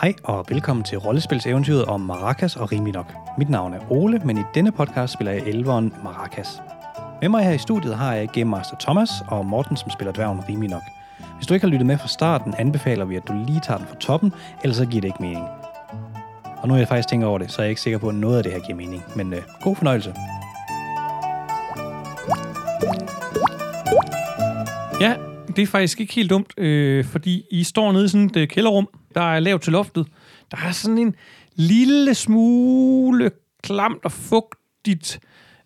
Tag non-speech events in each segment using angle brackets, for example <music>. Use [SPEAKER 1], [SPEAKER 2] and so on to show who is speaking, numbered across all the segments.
[SPEAKER 1] Hej og velkommen til rollespilseventyret om Maracas og Riminok. Mit navn er Ole, men i denne podcast spiller jeg elveren Maracas. Med mig her i studiet har jeg Game Master Thomas og Morten, som spiller dværgen Riminok. Hvis du ikke har lyttet med fra starten, anbefaler vi, at du lige tager den fra toppen, ellers så giver det ikke mening. Og nu er jeg faktisk tænker over det, så er jeg ikke sikker på, at noget af det her giver mening. Men øh, god fornøjelse.
[SPEAKER 2] Ja, det er faktisk ikke helt dumt, øh, fordi I står nede i sådan et øh, kælderrum, der er lavt til loftet. Der er sådan en lille smule klamt og fugtigt.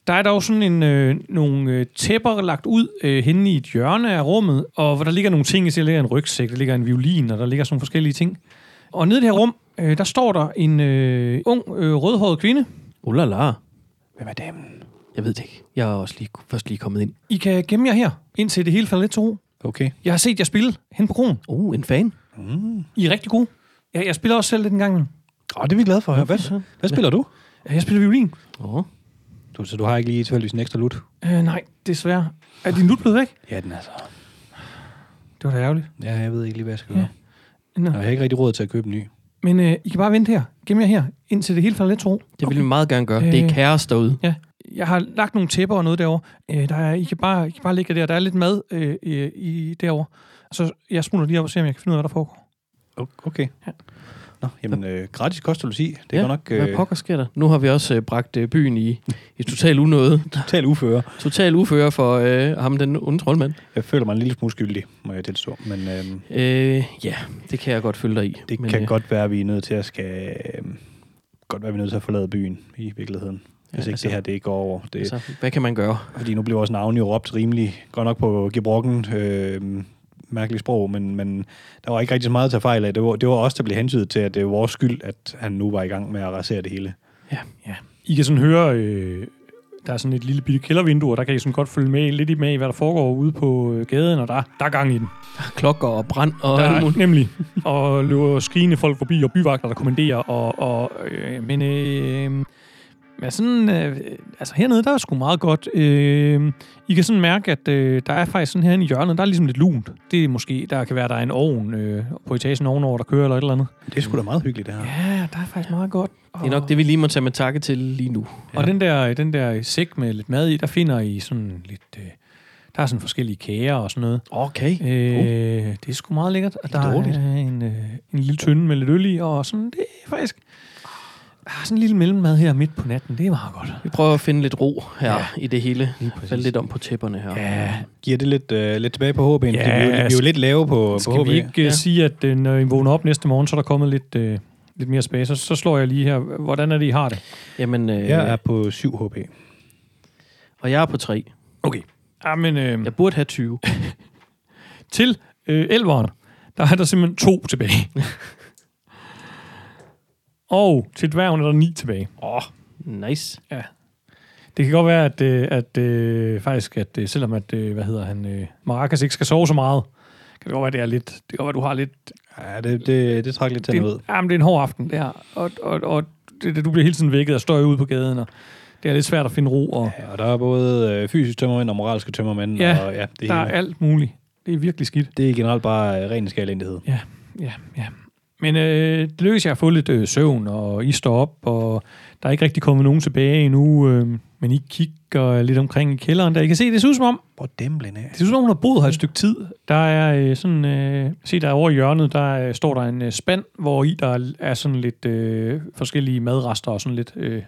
[SPEAKER 2] Der er dog sådan en, øh, nogle øh, tæpper lagt ud øh, henne i et hjørne af rummet, og hvor der ligger nogle ting, i der ligger en rygsæk, der ligger en violin, og der ligger sådan nogle forskellige ting. Og nede i det her rum, øh, der står der en øh, ung, øh, rødhåret kvinde.
[SPEAKER 3] Ulala.
[SPEAKER 1] Hvem er damen?
[SPEAKER 3] Jeg ved det ikke. Jeg er også lige, først lige kommet ind.
[SPEAKER 2] I kan gemme jer her, indtil det hele falder lidt til ro.
[SPEAKER 1] Okay.
[SPEAKER 2] Jeg har set jer spille hen på kronen.
[SPEAKER 3] Uh, en fan.
[SPEAKER 2] I er rigtig gode. Jeg, jeg spiller også selv lidt en gang imellem.
[SPEAKER 1] Åh, oh, det er vi glade for. Hvad, hvad spiller du?
[SPEAKER 2] Øh, Jeg spiller violin.
[SPEAKER 3] Åh. Oh.
[SPEAKER 1] du? Så du har ikke lige tilfældigvis en ekstra lut?
[SPEAKER 2] Øh, nej, desværre. Er din nut blevet væk?
[SPEAKER 1] Ja, den er så.
[SPEAKER 2] Det var da ærgerligt.
[SPEAKER 1] Ja, jeg ved ikke lige, hvad jeg skal gøre.
[SPEAKER 2] Nå.
[SPEAKER 1] Jeg har ikke rigtig råd til at købe en ny.
[SPEAKER 2] Men øh, I kan bare vente her. Gem jer her, indtil det hele falder lidt til ro.
[SPEAKER 3] Det vil vi meget gerne gøre. Det er
[SPEAKER 2] Øh.
[SPEAKER 3] kaos derude.
[SPEAKER 2] Ja. Jeg har lagt nogle tæpper og noget derovre. Øh, der er, I, kan bare, I kan bare ligge der. Der er lidt mad øh, øh, i derovre. Så jeg smutter lige op og ser, om jeg kan finde ud af, hvad der foregår.
[SPEAKER 1] Okay.
[SPEAKER 2] Ja.
[SPEAKER 1] Nå, jamen, øh, gratis kostologi, det er ja,
[SPEAKER 3] ja.
[SPEAKER 1] godt nok
[SPEAKER 3] Hvad
[SPEAKER 1] øh,
[SPEAKER 3] pokker sker der? Nu har vi også øh, bragt øh, byen i, i total
[SPEAKER 1] <laughs>
[SPEAKER 3] unåde.
[SPEAKER 1] total uføre.
[SPEAKER 3] Total ufører for øh, ham, den onde troldmand.
[SPEAKER 1] Jeg føler mig en lille smule skyldig, må jeg tilstå. Men øh,
[SPEAKER 3] Øh, ja, det kan jeg godt følge dig i.
[SPEAKER 1] det
[SPEAKER 3] Men,
[SPEAKER 1] kan
[SPEAKER 3] øh,
[SPEAKER 1] godt være, at vi er nødt til at skal... Øh, godt være, at vi er nødt til at forlade byen i virkeligheden. Hvis ja, ikke
[SPEAKER 3] altså-
[SPEAKER 1] det her det går over. Det, altså.
[SPEAKER 3] Altså, hvad kan man gøre?
[SPEAKER 1] Fordi nu bliver vores navne jo råbt rimelig godt nok på gebrokken øh, mærkeligt sprog, men, men der var ikke rigtig så meget at tage fejl af. Det var, det var os, der blev hensydet til, at det var vores skyld, at han nu var i gang med at rasere det hele.
[SPEAKER 3] Ja, ja.
[SPEAKER 2] I kan sådan høre, øh, der er sådan et lille bitte kældervindue, og der kan I sådan godt følge med lidt i med, i, hvad der foregår ude på øh, gaden, og der, der er gang i den.
[SPEAKER 3] Klokker og brand og
[SPEAKER 2] Der
[SPEAKER 3] alt
[SPEAKER 2] er
[SPEAKER 3] muligt.
[SPEAKER 2] nemlig. <laughs> Og løber skrigende folk forbi, og byvagter, der kommanderer. Og, og, øh, men øh, men sådan, øh, altså hernede, der er sgu meget godt. Øh, I kan sådan mærke, at øh, der er faktisk sådan her i hjørnet, der er ligesom lidt lunt. Det er måske, der kan være, der er en ovn øh, på etagen ovenover, der kører eller et eller andet.
[SPEAKER 1] Det er sgu da meget hyggeligt, det her.
[SPEAKER 2] Ja, der er faktisk meget godt. Og,
[SPEAKER 3] Det er nok det, vi lige må tage med takke til lige nu.
[SPEAKER 2] og den der, den der sæk med lidt mad i, der finder I sådan lidt... Øh, der er sådan forskellige kager og sådan noget.
[SPEAKER 3] Okay.
[SPEAKER 2] Øh, det er sgu meget lækkert. Og der
[SPEAKER 1] dårligt.
[SPEAKER 2] er en, øh, en lille tynde med lidt øl i, og sådan, det er faktisk... Der er sådan en lille mellemmad her midt på natten. Det er meget godt.
[SPEAKER 3] Vi prøver at finde lidt ro her ja. i det hele. Falde lidt om på tæpperne her.
[SPEAKER 2] Ja,
[SPEAKER 1] Giver det lidt, øh, lidt tilbage på HB'en,
[SPEAKER 2] Ja,
[SPEAKER 1] fordi vi, er jo- vi er jo
[SPEAKER 2] sk-
[SPEAKER 1] lidt lave på, på
[SPEAKER 2] skal
[SPEAKER 1] HB.
[SPEAKER 2] vi ikke ja.
[SPEAKER 3] Ja.
[SPEAKER 2] sige, at øh, når I vågner op næste morgen, så er der kommet lidt, øh, lidt mere space? Så, så slår jeg lige her. Hvordan er det, I har det?
[SPEAKER 3] Jamen, øh,
[SPEAKER 1] Jeg er på 7 HB.
[SPEAKER 3] og jeg er på tre.
[SPEAKER 2] Okay. Jamen,
[SPEAKER 1] Mm.
[SPEAKER 2] øh,
[SPEAKER 3] Jeg burde have 20.
[SPEAKER 2] til øh, elveren, der er der simpelthen to tilbage. og til dværgen er der ni tilbage. Åh, oh,
[SPEAKER 3] Nice.
[SPEAKER 2] Ja. Det kan godt være, at, øh, at øh, faktisk, at øh, selvom at, øh, hvad hedder han, øh, Maracas ikke skal sove så meget, kan det godt være, det er lidt, det kan godt være, du har lidt...
[SPEAKER 1] Ja, det, det, det trak lidt
[SPEAKER 2] Det,
[SPEAKER 1] tænder ud.
[SPEAKER 2] ja, men det er en hård aften, det her. Og, og, og det, det, du bliver hele tiden vækket og støj ude på gaden, og det er lidt svært at finde ro, og
[SPEAKER 1] Ja, og der er både øh, fysiske tømmermænd og moralske tømmermænd.
[SPEAKER 2] Ja,
[SPEAKER 1] og, ja det,
[SPEAKER 2] der
[SPEAKER 1] er,
[SPEAKER 2] er alt muligt. Det er virkelig skidt.
[SPEAKER 1] det er generelt bare øh, ren skærlændighed.
[SPEAKER 2] Ja, ja, ja. Men øh, det lykkedes jeg at få lidt øh, søvn, og I står op, og der er ikke rigtig kommet nogen tilbage endnu, øh, men I kigger lidt omkring i kælderen der. I kan se, det ser ud som om,
[SPEAKER 1] Hvor dæmblen af.
[SPEAKER 2] Det ser ud som om, hun har boet her et stykke tid. Der er øh, sådan, øh, se der over i hjørnet, der øh, står der en øh, spand, hvor i der er sådan lidt øh, forskellige madrester og sådan lidt... Øh,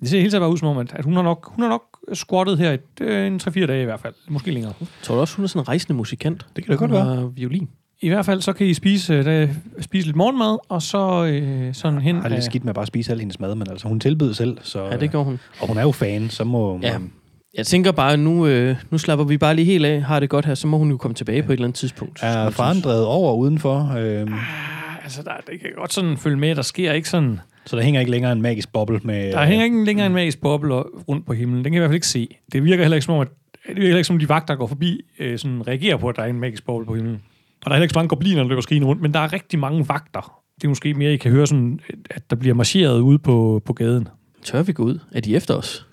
[SPEAKER 2] det ser helt sikkert bare ud som om, at, at hun har nok, hun har nok squattet her et, øh, en 3-4 dage i hvert fald. Måske længere.
[SPEAKER 3] Tror du også, hun er sådan en rejsende musikant?
[SPEAKER 1] Det kan det godt
[SPEAKER 3] Hun
[SPEAKER 1] være.
[SPEAKER 3] har violin.
[SPEAKER 2] I hvert fald så kan I spise, øh, der, spise lidt morgenmad, og så øh, sådan hen...
[SPEAKER 1] Jeg har
[SPEAKER 2] af-
[SPEAKER 1] lidt skidt med at bare spise al hendes mad, men altså, hun tilbyder selv, så,
[SPEAKER 3] Ja, det
[SPEAKER 1] øh,
[SPEAKER 3] gør hun.
[SPEAKER 1] og hun er jo fan, så må
[SPEAKER 3] Ja.
[SPEAKER 1] man...
[SPEAKER 3] Jeg tænker bare, nu, øh, nu slapper vi bare lige helt af, har det godt her, så må hun jo komme tilbage på et eller andet tidspunkt.
[SPEAKER 1] Er faren drevet over udenfor, øhm,
[SPEAKER 2] Ah, Altså, der, det kan godt sådan følge med, at der sker ikke sådan...
[SPEAKER 1] så der hænger ikke længere en magisk boble med...
[SPEAKER 2] Der hænger ikke længere en magisk boble rundt på himlen. Den kan jeg i hvert fald ikke se. Det virker heller ikke som om, at det virker heller ikke som om de vagter, der går forbi, øh, sådan reagerer på, at der er en magisk boble på himlen. Og der er heller ikke så mange gobliner, der løber skrigende rundt, men der er rigtig mange vagter. Det er måske mere, I kan høre, sådan, at der bliver marcheret ude på, på gaden.
[SPEAKER 3] Tør vi gå ud? Er de efter os?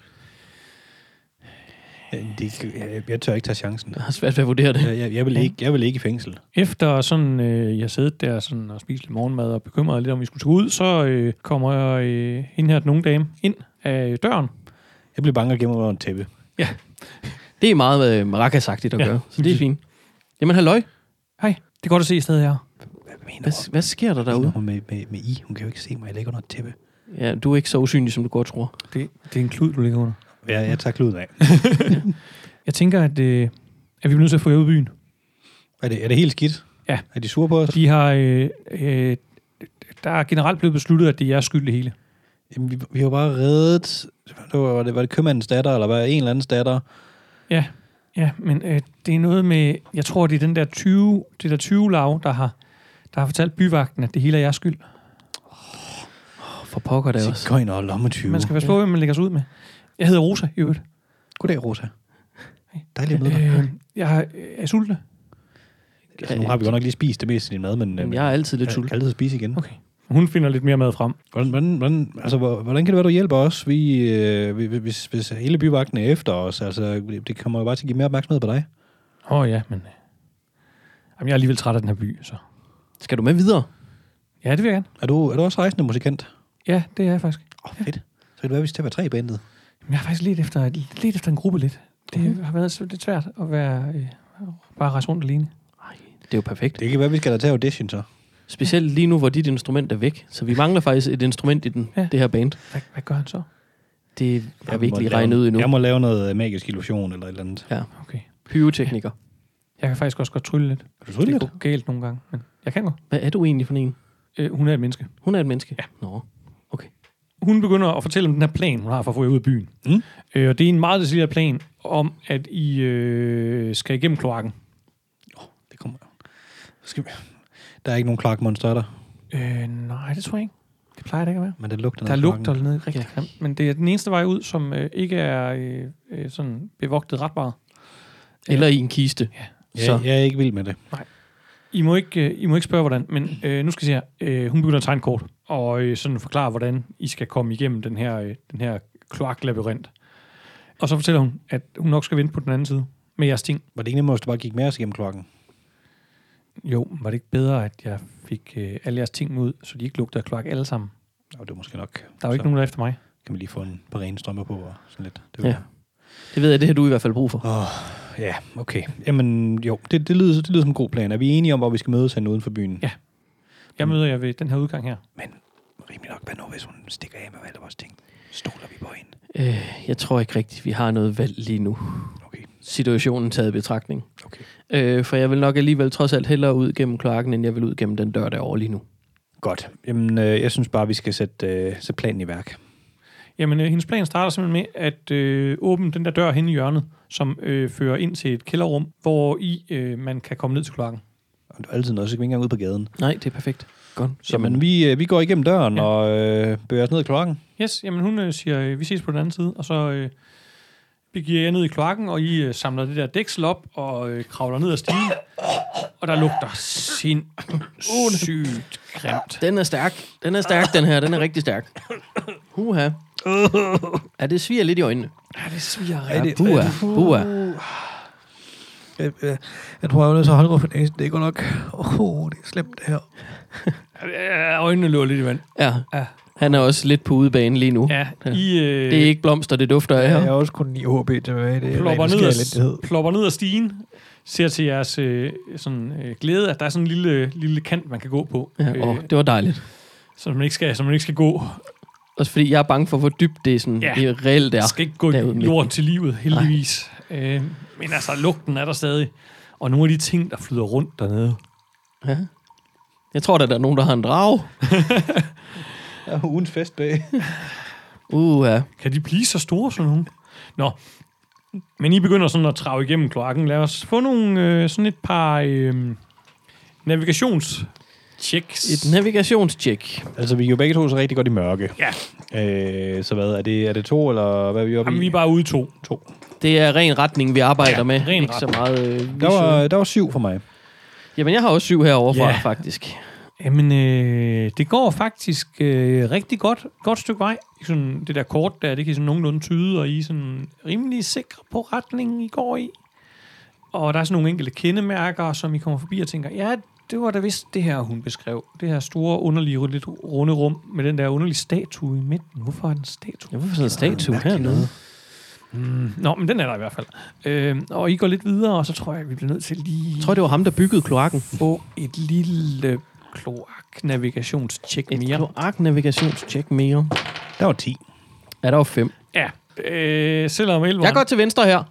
[SPEAKER 1] Øh, Det, jeg, jeg tør ikke tage chancen.
[SPEAKER 3] Jeg har svært ved at vurdere det.
[SPEAKER 1] Jeg, jeg, jeg, vil, ikke, jeg vil ikke i fængsel.
[SPEAKER 2] Efter sådan, øh, jeg sad der sådan, og spiste lidt morgenmad og bekymrede lidt, om vi skulle tage ud, så øh, kommer jeg, øh, hende her, den unge dame, ind af døren.
[SPEAKER 1] Jeg bliver bange og gemmer mig under en tæppe.
[SPEAKER 3] Det er meget øh, maracasagtigt at
[SPEAKER 2] Ja.
[SPEAKER 3] ja. gøre, så det er fint. Jamen halløj,
[SPEAKER 2] Hej, det er godt at se i stedet her.
[SPEAKER 1] Hvad mener
[SPEAKER 3] hvad, hvad sker der
[SPEAKER 1] hun,
[SPEAKER 3] derude?
[SPEAKER 1] hun med, med, med I? Hun kan jo ikke se mig. Jeg ligger under et tæppe.
[SPEAKER 3] Ja, du er ikke så usynlig, som du godt tror.
[SPEAKER 2] Det, det er en klud, du ligger under.
[SPEAKER 1] Jeg, jeg tager kluden af.
[SPEAKER 2] Jeg tænker, at, øh, at vi er nødt til at få jer ud i byen.
[SPEAKER 1] Er det, er det helt skidt?
[SPEAKER 2] Ja.
[SPEAKER 1] Er de sure på os?
[SPEAKER 2] De har, øh, øh, der er generelt blevet besluttet, at det er jeres skyld det hele.
[SPEAKER 1] Jamen, vi, vi har jo bare reddet... Det var, var, det, var det købmandens datter, eller var det en eller andens datter?
[SPEAKER 2] Ja, ja men øh, det er noget med, jeg tror, det er den der 20, det der 20 lav, der har, der har fortalt byvagten, at det hele er jeres skyld.
[SPEAKER 3] Åh, For pokker det også.
[SPEAKER 1] Sigøjner og lommetyve.
[SPEAKER 2] Man skal passe på, hvem man lægger sig ud med. Jeg hedder Rosa, i øvrigt.
[SPEAKER 1] Goddag, Rosa. Dejligt at møde dig.
[SPEAKER 2] Øh, jeg er- øh, er sulten.
[SPEAKER 1] Altså, nu har vi godt nok lige spist det meste af din mad, men,
[SPEAKER 3] Jamen,
[SPEAKER 1] men
[SPEAKER 3] jeg er altid lidt
[SPEAKER 1] jeg kan
[SPEAKER 3] sulten.
[SPEAKER 1] altid spise igen.
[SPEAKER 2] Okay. Hun finder lidt mere mad frem.
[SPEAKER 1] Hvordan, hvordan, hvordan, altså, hvor- hvordan kan det være, du hjælper os, vi, øh, vi- vi- hvis, hvis hele byvagten er efter os? Altså, det det kommer jo bare til at give mere opmærksomhed på dig.
[SPEAKER 2] Åh oh, ja, men... øh, Jamen, jeg er alligevel træt af den her by, så...
[SPEAKER 3] Skal du med videre?
[SPEAKER 2] Ja, det vil jeg gerne.
[SPEAKER 1] Er du, er du også rejsende musikant?
[SPEAKER 2] Ja, det er jeg faktisk.
[SPEAKER 1] Åh, oh, fedt. Så kan det være, vi skal til at være tre i bandet.
[SPEAKER 2] Jamen, jeg har faktisk lidt efter, lidt efter en gruppe lidt. Det mm-hmm. har været så lidt svært at være... Øh, bare rejse rundt alene.
[SPEAKER 3] Nej, det er jo perfekt.
[SPEAKER 1] Det kan være, vi skal da tage audition så.
[SPEAKER 3] Specielt lige nu, hvor dit instrument er væk. Så vi mangler faktisk et instrument i den,
[SPEAKER 2] Ja.
[SPEAKER 3] ja. det her band.
[SPEAKER 2] Hvad, hvad gør han så?
[SPEAKER 3] Det har vi
[SPEAKER 1] må
[SPEAKER 3] ikke lige
[SPEAKER 1] lave-
[SPEAKER 3] regnet ud endnu.
[SPEAKER 1] Jeg må lave noget øh, magisk illusion eller et eller andet.
[SPEAKER 2] Okay.
[SPEAKER 3] Pyrotekniker.
[SPEAKER 2] Jeg kan faktisk også godt trylle lidt.
[SPEAKER 1] Er du trylle
[SPEAKER 2] Det
[SPEAKER 1] lidt?
[SPEAKER 2] går galt nogle gange, men jeg kan godt.
[SPEAKER 3] Hvad er du egentlig for en?
[SPEAKER 2] Øh, hun er et menneske.
[SPEAKER 3] Hun er et menneske.
[SPEAKER 2] Ja.
[SPEAKER 3] Nå. Okay.
[SPEAKER 2] Hun begynder at fortælle om den her plan, hun har for at få jer ud af byen.
[SPEAKER 1] Mm.
[SPEAKER 2] Øh, og det er en meget detaljeret plan om, at I øh, skal igennem kloakken.
[SPEAKER 1] Det kommer. Skal vi... Der er ikke nogen klarkmonster der,
[SPEAKER 2] Øh, nej, det tror jeg ikke. Det plejer det ikke at være.
[SPEAKER 1] men det lugter
[SPEAKER 2] Der
[SPEAKER 1] noget af
[SPEAKER 2] lugter
[SPEAKER 1] kloakken.
[SPEAKER 2] noget rigtig ja. grimt. Men det er den eneste vej ud, som øh, ikke er øh, øh, sådan bevogtet ret meget.
[SPEAKER 3] Eller i en kiste. Så.
[SPEAKER 1] Jeg, jeg er ikke vild med det.
[SPEAKER 2] I må ikke, øh, I må ikke spørge, hvordan, men øh, nu skal jeg se her. Øh, hun begynder at tegne kort, og øh, sådan forklare, hvordan I skal komme igennem den her, øh, den her kloaklabyrint. Og så fortæller hun, at hun nok skal vente på den anden side med jeres ting.
[SPEAKER 1] Var det ikke nemmere, hvis du bare gik med os igennem klokken?
[SPEAKER 2] Jo, var det ikke bedre, at jeg fik øh, alle jeres ting med ud, så de ikke lugtede af kloak alle sammen?
[SPEAKER 1] Nå, det er måske nok.
[SPEAKER 2] Der er jo ikke
[SPEAKER 1] så
[SPEAKER 2] nogen, der er efter mig.
[SPEAKER 1] Kan vi lige få en par rene strømper på og sådan lidt. Det
[SPEAKER 3] Ja. Det ved jeg, det har du i hvert fald brug for.
[SPEAKER 1] Åh, ja, okay. Jamen, jo, det, det, lyder, det lyder som en god plan. Er vi enige om, hvor vi skal mødes henne uden for byen?
[SPEAKER 2] Ja. Jeg møder jer ved den her udgang her.
[SPEAKER 1] Men rimelig nok, hvad nu, hvis hun stikker af med alle vores ting? Stoler vi på hende?
[SPEAKER 3] Øh, jeg tror ikke rigtigt, vi har noget valg lige nu.
[SPEAKER 1] Okay,
[SPEAKER 3] Situationen taget i betragtning.
[SPEAKER 1] okay.
[SPEAKER 3] Øh, for jeg vil nok alligevel trods alt hellere ud gennem kloakken, end jeg vil ud gennem den dør derovre lige nu.
[SPEAKER 1] Godt. Jamen, øh, jeg synes bare, vi skal sætte, øh, sætte planen i værk.
[SPEAKER 2] Jamen, øh, hendes plan starter simpelthen med at øh, åbne den der dør hen i hjørnet, som øh, fører ind til et kælderrum, hvor i øh, man kan komme ned til kloakken.
[SPEAKER 1] Og det er altid noget, så kan vi ikke engang ud på gaden.
[SPEAKER 3] Nej, det er perfekt. Godt.
[SPEAKER 1] Så Jamen. vi, øh, vi går igennem døren ja. og øh, bevæger os ned i klokken.
[SPEAKER 2] Yes, jamen hun øh, siger, øh, vi ses på den anden side, og så øh, begiver jeg ned i kloakken, og I øh, samler det der dæksel op og øh, kravler ned ad stigen, og der lugter sindssygt grimt.
[SPEAKER 3] Den er stærk. Den er stærk, den her. Den er rigtig stærk. Huha. Ja, det sviger lidt i øjnene.
[SPEAKER 2] Ja, det sviger
[SPEAKER 1] Er
[SPEAKER 3] Ja,
[SPEAKER 1] det- Uh.
[SPEAKER 3] buha, buha.
[SPEAKER 1] Jeg, jeg, jeg tror, jeg er nødt til at holde mig for næsen. Det er godt nok... Åh, oh, det er slemt det her.
[SPEAKER 2] Ja, øjnene løber lidt i vand.
[SPEAKER 3] Ja.
[SPEAKER 2] Ja.
[SPEAKER 3] Han er også lidt på udebane lige nu.
[SPEAKER 2] Ja, I øh,
[SPEAKER 3] Det er ikke blomster, det dufter af
[SPEAKER 4] Ja. Jeg
[SPEAKER 3] her.
[SPEAKER 4] har også kun 9 HP tilbage. Det er
[SPEAKER 2] plopper,
[SPEAKER 4] ren
[SPEAKER 2] ned
[SPEAKER 4] uskadelighed.
[SPEAKER 2] ad, plopper ned ad stigen, ser til jeres øh, sådan, øh, glæde, at der er sådan en lille, lille kant, man kan gå på,
[SPEAKER 3] Ja, åh,
[SPEAKER 2] øh,
[SPEAKER 3] det var dejligt.
[SPEAKER 2] så, man ikke skal, så man ikke skal gå.
[SPEAKER 3] Også fordi jeg er bange for, hvor dybt det er sådan,
[SPEAKER 2] Ja.
[SPEAKER 3] ja. det er reelt
[SPEAKER 2] Ja,
[SPEAKER 3] er.
[SPEAKER 2] skal ikke gå i
[SPEAKER 3] derude midten.
[SPEAKER 2] jord til livet, heldigvis. Øh, men altså, lugten er der stadig. Og nogle af de ting, der flyder rundt dernede.
[SPEAKER 3] Ja. Jeg tror, der er nogen, der har en drag.
[SPEAKER 1] Der er ugens fest bag.
[SPEAKER 3] Uh, ja.
[SPEAKER 2] Kan de blive så store, sådan nogle? Nå, men I begynder sådan at trage igennem kloakken. Lad os få nogle, øh, sådan et par øh, navigationschecks.
[SPEAKER 3] Et navigationstjek.
[SPEAKER 1] altså, vi er jo begge to så rigtig godt i mørke.
[SPEAKER 2] Ja.
[SPEAKER 1] Øh, så hvad, er det, er det to, eller hvad er vi oppe
[SPEAKER 2] Jamen,
[SPEAKER 1] i?
[SPEAKER 2] vi er bare ude to.
[SPEAKER 1] to.
[SPEAKER 3] Det er ren retning, vi arbejder
[SPEAKER 2] Ja,
[SPEAKER 3] ja, med.
[SPEAKER 2] ren
[SPEAKER 3] ikke så meget øh,
[SPEAKER 1] Der
[SPEAKER 3] visuelt.
[SPEAKER 1] var, der var syv for mig.
[SPEAKER 3] Jamen, jeg har også syv herovre fra,
[SPEAKER 2] Ja.
[SPEAKER 3] faktisk.
[SPEAKER 2] Øh, Jamen, øh, det går faktisk øh, rigtig godt, godt stykke vej. I Sådan, det der kort der, det kan I sådan nogenlunde tyde, og I er sådan rimelig sikre på retningen, I går i. Og der er sådan nogle enkelte kendemærker, som I kommer forbi og tænker, ja, det var da vist det her, hun beskrev. Det her store, underlige, lidt runde rum med den der underlige statue i midten. Hvorfor er den statue?
[SPEAKER 3] Ja, hvorfor sådan en statue hernede?
[SPEAKER 2] Mm. Nå, men den er der i hvert fald. Øh, og I går lidt videre, og så tror jeg, vi bliver nødt til lige
[SPEAKER 3] Jeg tror, det var ham, der byggede kloakken.
[SPEAKER 2] få et lille kloak-navigationstjek
[SPEAKER 3] Et
[SPEAKER 2] mere.
[SPEAKER 3] kloaknavigationstjek mere.
[SPEAKER 1] Der var 10.
[SPEAKER 3] Ja, der var fem.
[SPEAKER 2] Ja, øh, selvom Elveren,
[SPEAKER 3] Jeg går til venstre her.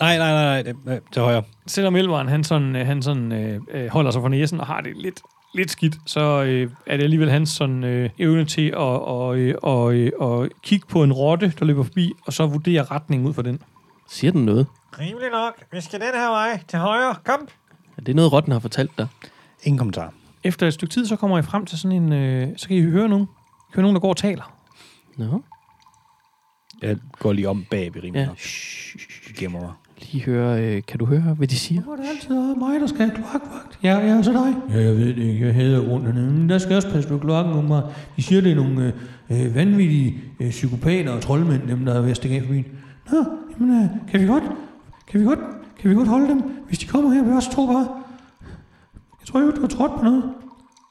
[SPEAKER 1] Nej, nej, nej, nej, det- nej, til højre.
[SPEAKER 2] selvom Elveren han sådan, øh, han sådan øh, øh, holder sig for næsen og har det lidt, lidt skidt, så øh, er det alligevel hans sådan, øh, evne til at og, øh, og, øh, og kigge på en rotte, der løber forbi, og så vurdere retningen ud for den.
[SPEAKER 3] Siger den noget?
[SPEAKER 4] Rimelig nok. Vi skal den her vej. Til højre. Kom.
[SPEAKER 3] Er det noget, Rotten har fortalt dig?
[SPEAKER 1] Ingen kommentar.
[SPEAKER 2] Efter et stykke tid, så kommer I frem til sådan en... Øh, så kan I høre nogen. I kan høre nogen, der går og taler.
[SPEAKER 3] Nå.
[SPEAKER 1] Jeg går lige om bag ved rimelig
[SPEAKER 3] Ja.
[SPEAKER 1] ja. nok. Gemmer mig.
[SPEAKER 3] Lige høre, øh, kan du høre, hvad de siger?
[SPEAKER 2] Hvor er det altid mig, der skal have kloakvagt? Ja, ja, så dig. Ja, jeg ved det ikke. Jeg hader rundt hernede. Men der skal jeg også passe på kloakken om mig. De siger, det er nogle øh, øh, vanvittige øh, psykopater og troldmænd, dem der er ved at stikke af for byen. Nå, jamen, øh, kan vi godt? Kan vi godt? Kan vi godt holde dem? Hvis de kommer her, vil jeg også tro bare. Jeg tror jo, du har trådt på noget.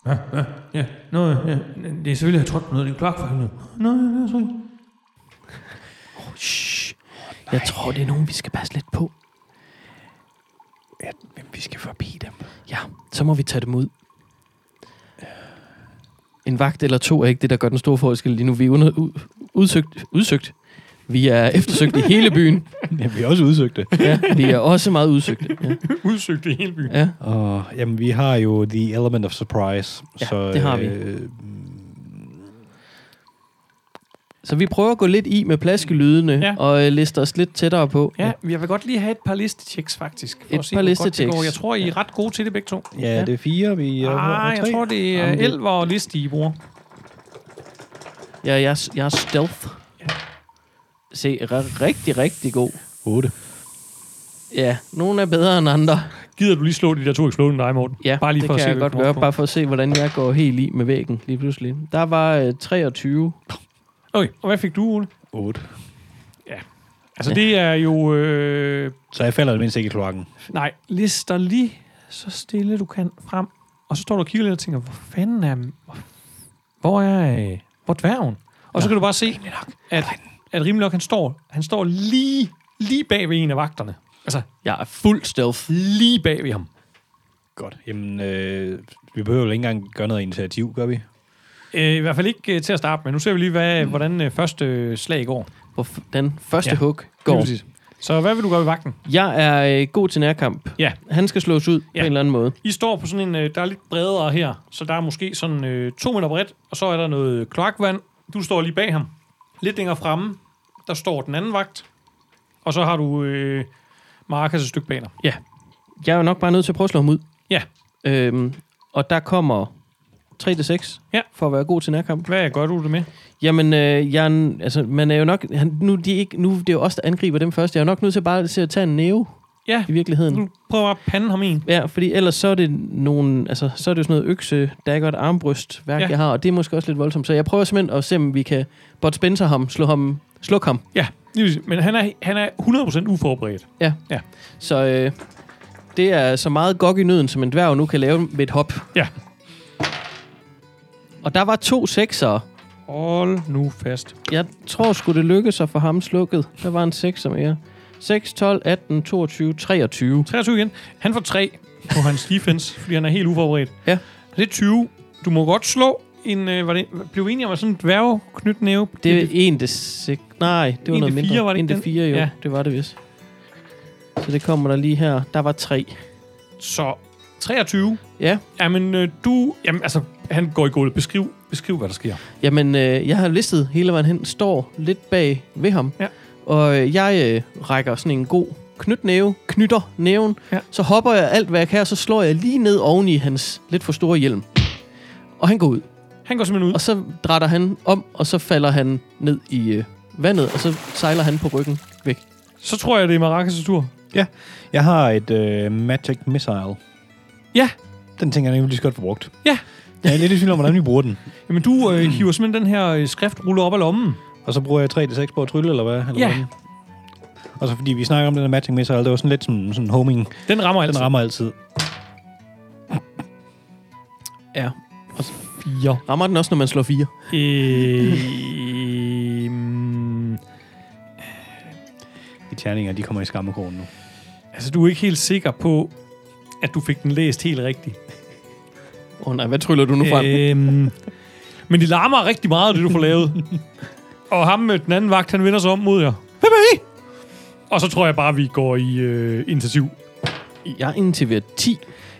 [SPEAKER 2] Ja, ja, ja. Nå, ja, ja. Det er selvfølgelig, jeg har trådt på noget. Det er klart for helvede. Nå, ja, det er så
[SPEAKER 3] Shh. Jeg tror, det er nogen, vi skal passe lidt på.
[SPEAKER 1] Ja, men vi skal forbi dem.
[SPEAKER 3] Ja, så må vi tage dem ud. En vagt eller to er ikke det, der gør den store forskel lige nu. Vi er under, u, udsøgt, udsøgt. Vi er eftersøgt i hele
[SPEAKER 1] <laughs>
[SPEAKER 3] byen.
[SPEAKER 1] Ja, vi har også udsøgt det.
[SPEAKER 3] Ja, vi er også meget udsøgte. Ja,
[SPEAKER 2] Udsøgt i hele byen.
[SPEAKER 3] ja.
[SPEAKER 1] Og, jamen, vi har jo The Element of Surprise.
[SPEAKER 3] Ja,
[SPEAKER 1] så,
[SPEAKER 3] det har vi.
[SPEAKER 1] Øh,
[SPEAKER 3] Så vi prøver at gå lidt i med plaskelydene
[SPEAKER 2] Ja.
[SPEAKER 3] ja. og øh, liste os lidt tættere på.
[SPEAKER 2] Ja, jeg vil godt lige have et par listetjeks, faktisk. For
[SPEAKER 3] Et
[SPEAKER 2] at se,
[SPEAKER 3] par
[SPEAKER 2] hvor godt det
[SPEAKER 3] listetjeks.
[SPEAKER 2] går. Jeg tror, I er ret gode til det begge to.
[SPEAKER 1] ja, det er fire, vi er
[SPEAKER 2] Ah,
[SPEAKER 1] og
[SPEAKER 2] jeg
[SPEAKER 1] tre.
[SPEAKER 2] tror, det er
[SPEAKER 3] Jamen, det-
[SPEAKER 2] elver og liste, I bruger.
[SPEAKER 3] Ja, jeg, er- jeg er stealth. Se, r- rigtig, rigtig god.
[SPEAKER 1] Otte.
[SPEAKER 3] Ja, nogle er bedre end andre.
[SPEAKER 2] Gider du lige slå de der to eksplosioner dig, Morten?
[SPEAKER 3] Ja,
[SPEAKER 2] Bare lige
[SPEAKER 3] det
[SPEAKER 2] for at
[SPEAKER 3] kan
[SPEAKER 2] se,
[SPEAKER 3] jeg
[SPEAKER 2] hvad
[SPEAKER 3] godt
[SPEAKER 2] vi kommer
[SPEAKER 3] gøre,
[SPEAKER 2] på.
[SPEAKER 3] bare for at se, hvordan jeg går helt i med væggen lige pludselig. Der var øh, 23.
[SPEAKER 2] Okay, og hvad fik du, Ole?
[SPEAKER 1] Otte.
[SPEAKER 2] Altså, det er jo... Øh,
[SPEAKER 1] Så jeg falder i det mindste ikke i kloakken.
[SPEAKER 2] nej, lister lige så stille, du kan frem. Og så står du og kigger lidt og tænker, hvor fanden er... Hvor er... Øh, hvor er dværgen? Og så kan du bare se, at, at Rimelok, han står, han står lige, lige bag ved en af vagterne. Altså,
[SPEAKER 3] Jeg er fuld stealth.
[SPEAKER 2] lige bag ved ham.
[SPEAKER 1] Godt. Jamen, øh, vi behøver jo ikke engang gøre noget initiativ, gør vi?
[SPEAKER 2] Øh, I hvert fald ikke øh, til at starte med. Nu ser vi lige, hvad, mm. hvordan øh, første øh, slag går.
[SPEAKER 3] Hvor f- den første
[SPEAKER 2] Ja,
[SPEAKER 3] ja, hook går.
[SPEAKER 2] Lige præcis. Så hvad vil du gøre ved vagten?
[SPEAKER 3] Jeg er øh, god til nærkamp.
[SPEAKER 2] Ja.
[SPEAKER 3] Han skal slås
[SPEAKER 2] Ja.
[SPEAKER 3] ud ja. på en eller anden måde.
[SPEAKER 2] I står på sådan en, øh, der er lidt bredere her, så der er måske sådan øh, to meter bredt, og så er der noget kloakvand. Du står lige bag ham. Lidt længere fremme, der står den anden vagt, og så har du øh, Markus et stykke baner.
[SPEAKER 3] Jeg er jo nok bare nødt til at prøve at slå ham ud.
[SPEAKER 2] Ja.
[SPEAKER 3] Øhm, og der kommer 3-6
[SPEAKER 2] Ja.
[SPEAKER 3] for at være god til nærkamp.
[SPEAKER 2] Hvad gør du det med?
[SPEAKER 3] Jamen, øh, jeg, er en- altså, man er jo nok... Han, nu, er de ikke, nu det er det jo os, der angriber dem først. Jeg er jo nok nødt til bare til at tage en næve
[SPEAKER 2] Ja,
[SPEAKER 3] i virkeligheden.
[SPEAKER 2] du prøver bare at pande ham en.
[SPEAKER 3] Ja, fordi ellers så er det nogen, altså, så er det jo sådan noget økse, dagger og armbrystværk,
[SPEAKER 2] Ja.
[SPEAKER 3] ja. jeg har, og det er måske også lidt voldsomt. Så jeg prøver simpelthen at se, om vi kan bot Spencer ham, slå ham, sluk ham.
[SPEAKER 2] Ja, lige præcis. men han er, han er 100% uforberedt.
[SPEAKER 3] Så øh, det er så meget gok i nøden, som en dværg nu kan lave med et hop.
[SPEAKER 2] Ja.
[SPEAKER 3] Og der var to sekser.
[SPEAKER 2] Hold nu fast.
[SPEAKER 3] Jeg tror skulle det lykkes sig for ham slukket. Der var en sekser mere. 6, 12, 18, 22, 23.
[SPEAKER 2] 23 igen. Han får 3 på hans defense, fordi han er helt uforberedt.
[SPEAKER 3] Ja.
[SPEAKER 2] Det er 20. Du må godt slå en... Øh, var det, blev vi enige om, at sådan en dværgknytnæve?
[SPEAKER 3] Det er en det seks... Nej, det var
[SPEAKER 2] En det
[SPEAKER 3] noget mindre.
[SPEAKER 2] fire, var det
[SPEAKER 3] en
[SPEAKER 2] ikke den?
[SPEAKER 3] det fire, jo.
[SPEAKER 2] Ja.
[SPEAKER 3] Ja. Det var det vist. Så det kommer der lige her. Der var tre.
[SPEAKER 2] Så 23.
[SPEAKER 3] Ja.
[SPEAKER 2] Jamen, øh, du... Jamen, altså, han går i gulvet. Beskriv, beskriv hvad der sker.
[SPEAKER 3] Jamen, øh, jeg har listet hele vejen hen. Står lidt bag ved ham.
[SPEAKER 2] Ja.
[SPEAKER 3] Og øh, jeg øh, rækker sådan en god knytnæve, knytter næven.
[SPEAKER 2] Ja.
[SPEAKER 3] Så hopper jeg alt, hvad jeg kan, og så slår jeg lige ned oven i hans lidt for store hjelm. Og han går ud.
[SPEAKER 2] Han går simpelthen ud.
[SPEAKER 3] Og så drætter han om, og så falder han ned i øh, vandet, og så sejler han på ryggen væk.
[SPEAKER 2] Så tror jeg, det er Maracas' tur.
[SPEAKER 1] Jeg har et øh, Magic Missile.
[SPEAKER 2] Ja.
[SPEAKER 1] Den tænker jeg nemlig lige så godt få brugt. Jeg er lidt i tvivl om, hvordan vi bruger den.
[SPEAKER 2] Jamen, du
[SPEAKER 3] <clears throat>
[SPEAKER 2] øh, hiver simpelthen den her øh, skriftrulle op af lommen.
[SPEAKER 1] Og så bruger jeg 3D6 på at trylle, eller hvad? Eller
[SPEAKER 2] Ja.
[SPEAKER 1] hvordan? Og så fordi vi snakker om den der matching med sig, det var sådan lidt som sådan homing.
[SPEAKER 2] Den rammer altså
[SPEAKER 1] Den rammer altid.
[SPEAKER 3] Ja.
[SPEAKER 2] fire.
[SPEAKER 3] Rammer den også, når man slår fire?
[SPEAKER 2] Øh, <laughs> mm,
[SPEAKER 1] De terninger, de kommer i skammekrogen nu.
[SPEAKER 2] altså, du er ikke helt sikker på, at du fik den læst helt rigtigt.
[SPEAKER 3] Åh oh, nej, hvad tryller du nu frem? Øh.
[SPEAKER 2] Øhm, men de larmer rigtig meget, det du får <laughs> lavet. og ham, øh, den anden vagt, han vender sig om mod jer. Hvem er I? Og så tror jeg bare, vi går i øh, initiativ.
[SPEAKER 3] Jeg indtiverer 10,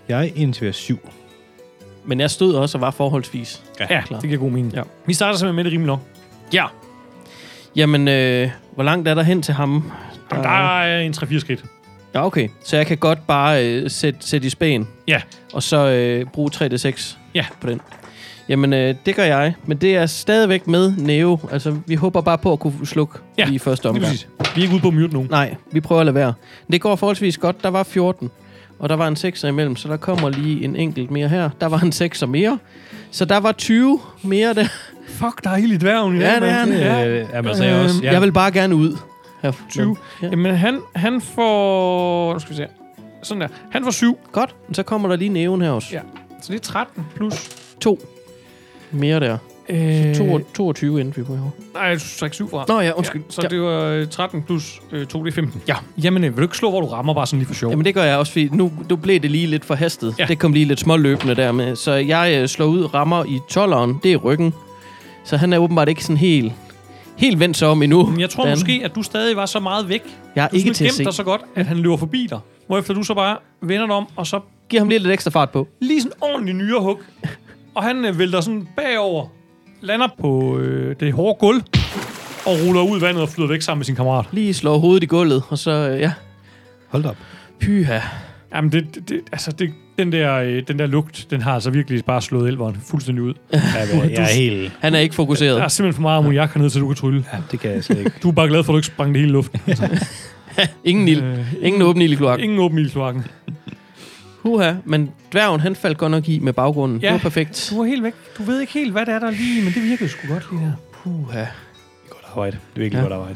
[SPEAKER 1] Jeg indtiverer 7.
[SPEAKER 3] men jeg stod også og var forholdsvis.
[SPEAKER 2] Ja,
[SPEAKER 3] klar.
[SPEAKER 2] det giver god mening. Ja. Vi starter simpelthen med det rimelig nok.
[SPEAKER 3] Ja. Jamen, øh, hvor langt er der hen til ham?
[SPEAKER 2] Jamen, der er en 3-4 skridt.
[SPEAKER 3] Ja, okay. Så jeg kan godt bare øh, sætte, sætte i spæen.
[SPEAKER 2] Ja.
[SPEAKER 3] Og så øh, bruge 3D6
[SPEAKER 2] Ja.
[SPEAKER 3] på den. Jamen, øh, det gør jeg. Men det er stadigvæk med Neo. Altså, vi håber bare på at kunne slukke
[SPEAKER 2] Ja,
[SPEAKER 3] lige i første
[SPEAKER 2] Lige
[SPEAKER 3] omgang.
[SPEAKER 2] præcis. Vi er ikke ude på at mute nogen.
[SPEAKER 3] Nej, vi prøver at lade være. Det går forholdsvis godt. Der var 14, og der var en 6 imellem, så der kommer lige en enkelt mere her. Der var en 6 mere. Så der var 20 mere der.
[SPEAKER 2] Fuck, der er helt i dværgen i
[SPEAKER 3] Ja,
[SPEAKER 2] dag,
[SPEAKER 3] det er
[SPEAKER 2] mand.
[SPEAKER 3] han.
[SPEAKER 2] Ja.
[SPEAKER 1] Øh, jamen, altså, jeg, også,
[SPEAKER 2] Øhm,
[SPEAKER 1] jeg,
[SPEAKER 3] Jeg vil bare gerne ud. Her.
[SPEAKER 2] 20.
[SPEAKER 3] Ja.
[SPEAKER 2] Jamen, han, han får... Nu skal vi se her. Sådan der. Han får 7,
[SPEAKER 3] Godt, men så kommer der lige næven her også.
[SPEAKER 2] Ja. så det er 13 plus...
[SPEAKER 3] To mere der.
[SPEAKER 2] Øh,
[SPEAKER 3] Så to, 22 endte vi på her.
[SPEAKER 2] Nej, du trækker 7 fra.
[SPEAKER 3] Nå ja, undskyld.
[SPEAKER 2] Ja,
[SPEAKER 3] Ja,
[SPEAKER 2] så det var øh, 13 plus øh, 2, det er 15.
[SPEAKER 3] Ja.
[SPEAKER 2] Jamen, øh, vil du ikke slå, hvor du rammer bare sådan lige for sjov?
[SPEAKER 3] Jamen det gør jeg også, fordi nu, nu blev det lige lidt for hastet.
[SPEAKER 2] Ja.
[SPEAKER 3] Ja. Det kom lige lidt småløbende der med. Så jeg øh, slår ud, rammer i 12'eren, det er ryggen. Så han er åbenbart ikke sådan helt, helt vendt sig om endnu.
[SPEAKER 2] Jamen, jeg tror
[SPEAKER 3] Dan.
[SPEAKER 2] måske, at du stadig var så meget væk. Du
[SPEAKER 3] Jeg er ikke
[SPEAKER 2] sådan
[SPEAKER 3] til at
[SPEAKER 2] gemte
[SPEAKER 3] se.
[SPEAKER 2] dig så godt, at han løber forbi dig. Hvorefter du så bare vender dig om, og så
[SPEAKER 3] Giv ham lige lidt ekstra fart på.
[SPEAKER 2] lige sådan en ordentlig
[SPEAKER 3] <laughs>
[SPEAKER 2] nyrehug. Og han øh, vælter sådan bagover, lander på øh, det hårde gulv, og ruller ud i vandet og flyder væk sammen med sin kammerat.
[SPEAKER 3] Lige slår hovedet i gulvet, og så, øh, ja,
[SPEAKER 1] hold da op.
[SPEAKER 3] pyha.
[SPEAKER 2] Jamen, det, det, det, altså det, den, der, øh, den der lugt, den har altså virkelig bare slået elveren fuldstændig ud.
[SPEAKER 1] Jeg, jeg, jeg er helt...
[SPEAKER 3] Han er ikke fokuseret.
[SPEAKER 2] Der er simpelthen for meget ammoniak hernede, så du kan trylle.
[SPEAKER 1] Ja, det kan jeg slet ikke.
[SPEAKER 2] Du er bare glad for, at du ikke sprang det hele i
[SPEAKER 3] <laughs>
[SPEAKER 2] luften.
[SPEAKER 3] Ingen ild.
[SPEAKER 2] Øh,
[SPEAKER 3] Ingen åben ild i kloakken.
[SPEAKER 2] ingen åben ildkloakken.
[SPEAKER 3] Huha, men dværgen, han faldt godt nok i med baggrunden.
[SPEAKER 2] Ja.
[SPEAKER 3] Det var perfekt.
[SPEAKER 2] Du er helt væk. Du ved ikke helt, hvad det er, der er lige, men det virkede sgu godt lige der.
[SPEAKER 3] Puha.
[SPEAKER 1] Godt arbejde. Det er virkelig ja.
[SPEAKER 3] Ja.
[SPEAKER 1] godt arbejde.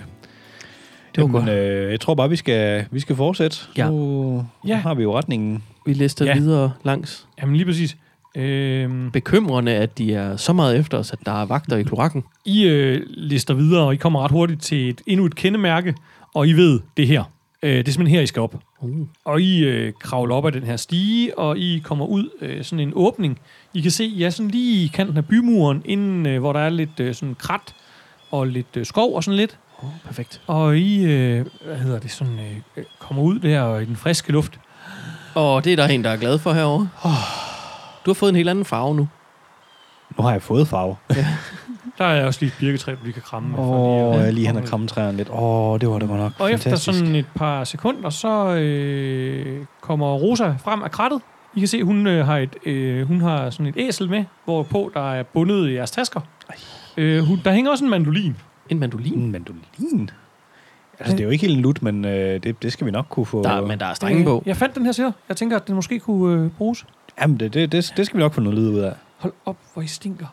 [SPEAKER 3] Det var godt.
[SPEAKER 1] Øh, jeg tror bare, vi skal, vi skal fortsætte.
[SPEAKER 3] Ja.
[SPEAKER 1] Nu
[SPEAKER 2] Ja.
[SPEAKER 1] ja. har vi jo retningen.
[SPEAKER 3] Vi lister
[SPEAKER 2] Ja.
[SPEAKER 3] ja. videre langs.
[SPEAKER 2] Jamen lige præcis. Øhm,
[SPEAKER 3] Bekymrende, at de er så meget efter os, at der er vagter i kloakken.
[SPEAKER 2] I øh, lister videre, og I kommer ret hurtigt til et, endnu et kendemærke, og I ved det er her. Øh, det er simpelthen her, I skal op.
[SPEAKER 3] Uh.
[SPEAKER 2] Og I øh, kravler op ad den her stige, og I kommer ud øh, sådan en åbning. I kan se, ja, sådan lige i kanten af bymuren, inden, øh, hvor der er lidt øh, sådan krat og lidt øh, skov og sådan lidt.
[SPEAKER 3] Perfekt.
[SPEAKER 2] Og I, øh, hvad hedder det, sådan øh, øh, kommer ud der og i den friske luft.
[SPEAKER 3] Og det er der en, der er glad for herovre. Du har fået en helt anden farve nu.
[SPEAKER 1] Nu har jeg fået farve.
[SPEAKER 2] Der er også lige et birketræ, du lige kan kramme. med, for
[SPEAKER 1] Åh, oh,
[SPEAKER 2] øh,
[SPEAKER 1] jeg lige han har
[SPEAKER 2] komme
[SPEAKER 1] krammet træerne lidt. Åh, oh, det var da godt nok
[SPEAKER 2] Og efter
[SPEAKER 1] fantastisk.
[SPEAKER 2] sådan et par sekunder, så øh, kommer Rosa frem af krattet. I kan se, hun øh, har et, øh, hun har sådan et æsel med, hvorpå der er bundet i jeres tasker. Øh, hun, der hænger også en mandolin.
[SPEAKER 3] En mandolin.
[SPEAKER 1] En Mm, mandolin? Altså, det er jo ikke helt en lut, men øh, det, det skal vi nok kunne få...
[SPEAKER 3] Der, men der er strenge på.
[SPEAKER 2] Øh, jeg fandt den her siger. Jeg tænker, at den måske kunne øh, bruges.
[SPEAKER 1] Jamen, det, det, det, det skal vi nok få noget lyd ud af.
[SPEAKER 2] Hold op, hvor I stinker.